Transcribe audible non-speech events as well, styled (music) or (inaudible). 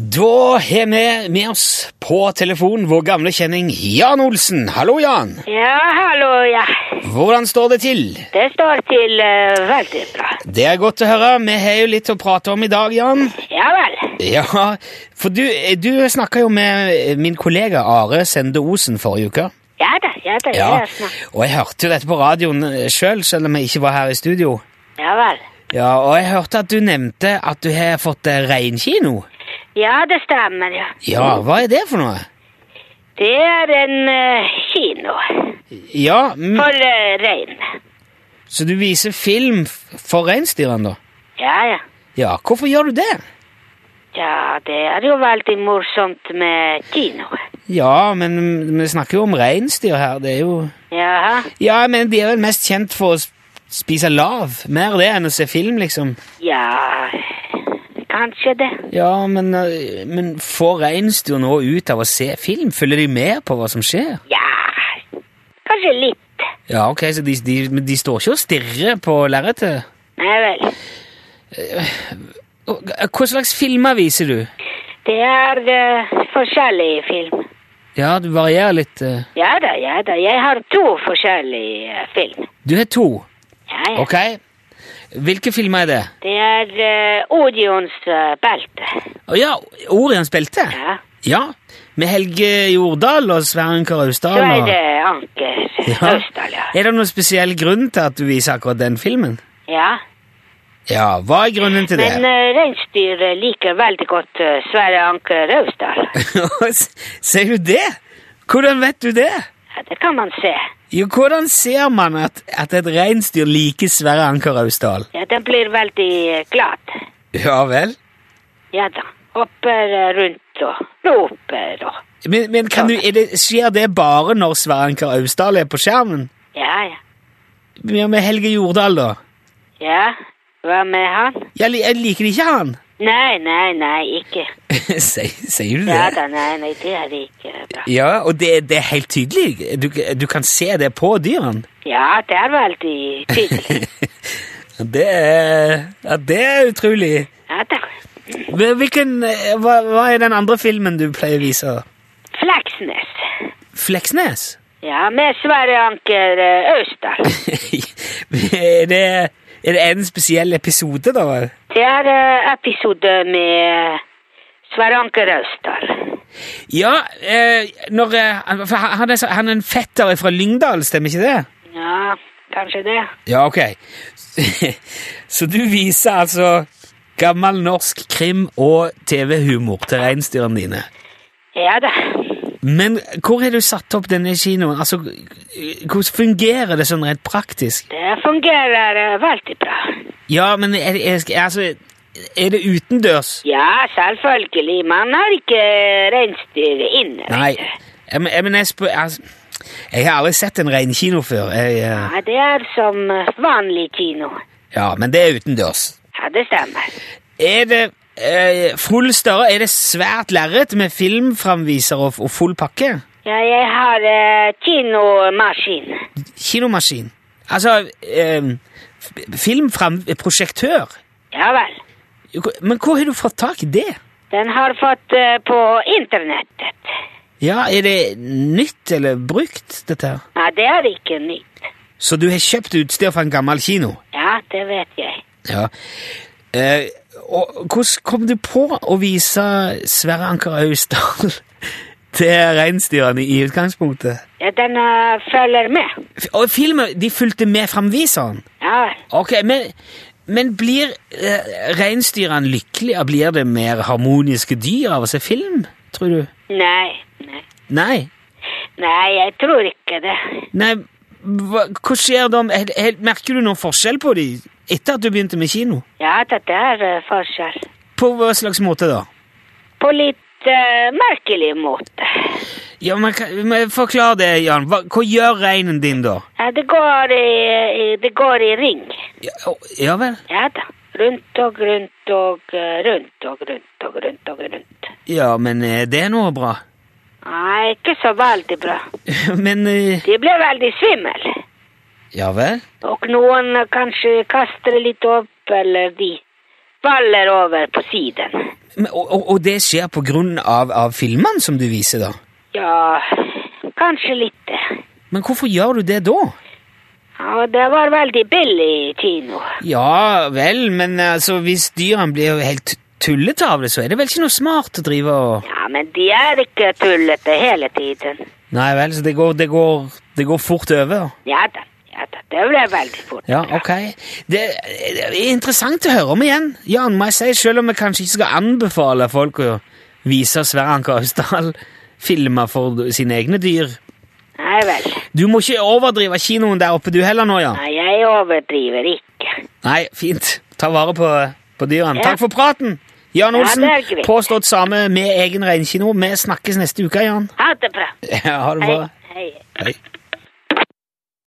Da har vi med oss på telefon vår gamle kjenning Jan Olsen. Hallo, Jan. Ja, hallo, ja. Hvordan står det til? Det står til eh, veldig bra. Det er godt å høre. Vi har jo litt å prate om i dag, Jan. Ja vel. Ja, for du, du snakka jo med min kollega Are Sende Osen forrige uke. Ja da, ja da. Ja, Ja, ja, snakk. Og jeg hørte jo dette på radioen sjøl, selv om jeg ikke var her i studio. ja vel. Ja, Og jeg hørte at du nevnte at du har fått eh, reinkino. Ja, det stemmer, ja. Ja, hva er det for noe? Det er en eh, kino Ja, mm, for eh, rein. Så du viser film f- for reinsdyrene, da? Ja, ja. Ja, hvorfor gjør du det? Ja, det er jo veldig morsomt med kino. Ja, men mm, vi snakker jo om reinsdyr her, det er jo Jaha. Ja, men de er vel mest kjent for å sp- spise lav. Mer det enn å se film, liksom. Ja, kanskje det. Ja, men, eh, men får reinsdyr nå ut av å se film? Følger de med på hva som skjer? Ja, kanskje litt. Ja, ok, så de, de, men de står ikke og stirrer på lerretet? Nei vel. Og, eh, Hva slags filmer viser du? Det er eh, forskjellige film. Ja, du varierer litt. eh. Ja da, ja da. Jeg har to forskjellige eh, film. Du har to. Ja, ja. Ok. Hvilke filmer er det? Det er uh, Odions eh, belte. Å ja, Orions belte. Ja. Ja, med Helge Jordal og Sverre Karausdal. Så er og- det Anker Østdal, ja. Er det noen spesiell grunn til at du viser akkurat den filmen? ja. Ja, hva er grunnen til Men det? uh, reinsdyr liker veldig godt eh, Sverre Anker Østdal. (laughs) Ser du det? Hvordan vet du det? Ja, det kan man se. Jo, hvordan ser man at, at et reinsdyr liker Sverre Anker Austdal? Ja, den blir veldig eh, glad. Ja vel? Ja da. Hopper eh, rundt og roper og Men, men kan du, er det, skjer det bare når Sverre Anker Austdal er på skjermen? Ja, ja. Ja, Med Helge Jordal, da? Ja, hva med han? Jeg, li- jeg liker ikke han. Nei, nei, nei, ikke. (laughs) sier, sier du det? Ja da, nei, nei, det er ikke bra. Ja, og det, det er helt tydelig. Du, du kan se det på dyrene. (laughs) Ja, det er veldig tydelig. Det er, ja, det er utrolig. Ja da. Men Hvilken, eh, hva, hva er den andre filmen du pleier å vise? Fleksnes. Fleksnes? (laughs) Ja, med Sverre Anker eh, Østdal. er, det, er det en spesiell episode, da? Det er eh, episode med eh, Sverre Anker Østdal. Ja, eh, når, eh, han- for han, han er, så- han er en fetter fra Lyngdal, stemmer ikke det? Ja, kanskje det. Ja, ok. (laughs) så du viser altså gammel norsk krim og TV-humor til reinsdyrene dine? Ja da. Men hvor har du satt opp denne kinoen? Altså, Hvordan fungerer det sånn rent praktisk? Det fungerer eh, veldig bra. Ja, men er, det- er, altså, er det utendørs? Ja, selvfølgelig. Man har ikke reinsdyr inne. vet Nei. du. Jeg, men- jeg, men jeg, spør, altså, jeg har aldri sett en reinkino før. Jeg, eh, Ja, det er som eh, vanlig kino. ja, Men det er utendørs. Ja, det stemmer. Er det eh, full større? Er det svært lerret med filmframviser og, og full pakke? Ja, jeg har eh, kinomaskin. Kinomaskin? Altså eh, f- filmfram... Prosjektør? Ja vel. Men hvor har du fått tak i det? Den har fått eh, på internettet. Ja, er det nytt eller brukt, dette her? Ja, det er ikke nytt. Så du har kjøpt utstyr fra en gammel kino? Ja, det vet jeg. Ja. Eh, og hvordan kom du på å vise Sverre Anker Austdal (laughs) til reinsdyrene i utgangspunktet? Ja, den eh, følger med. F- Og filmen, de fulgte med framviseren? Ja vel. Ok, men, men blir eh, reinsdyrene lykkelige? Blir det mer harmoniske dyr av å se film, tror du? Nei, nei. Nei? Nei, jeg tror ikke det. Nei, hva, hva skjer da? om- hel- hel- Merker du noen forskjell på dem etter at du begynte med kino? Ja, det er eh, forskjell. På hva slags måte da? På litt eh, merkelig måte. Ja, men, hva- men Forklar det, Jan. Hva, hva gjør reinen din da? Ja, det går i, i, det går i ring. Ja, å, ja vel? Ja da. Rundt og rundt og eh, rundt og rundt og rundt og rundt. Ja, men eh, det er noe bra. (laughs) Nei, ikke så veldig bra. Men eh, De ble veldig svimmel. Ja vel? Og noen eh, kanskje kaster litt opp, eller de faller over på siden. Men- Og, og, og det skjer på grunn av, av filmene som du viser, da? Ja, kanskje litt. Men hvorfor gjør du det da? Ja, det var veldig billig kino. Ja vel, men altså, hvis dyrene blir helt tullete av det, så er det vel ikke noe smart å drive og Ja, men de er ikke tullete hele tiden. Nei vel, så det går, det går, det går fort over. Ja da, ja da, det ble veldig fort. Ja, ok. Det er interessant å høre om igjen. Jan, må jeg si, selv om jeg kanskje ikke skal anbefale folk å vise Sverre Anker Austdal-filmer for sine egne dyr Nei vel. Du må ikke overdrive kinoen der oppe du heller nå, Jan. Nei, jeg overdriver ikke. Nei, fint. Ta vare på, på dyrene. Ja. Takk for praten! Jan Ja, Olsen, det er greit. påstått same med egen reinkino. Vi snakkes neste uke, Jan. Ha det bra. Ja, ha det Hei, bra. hei. Hei.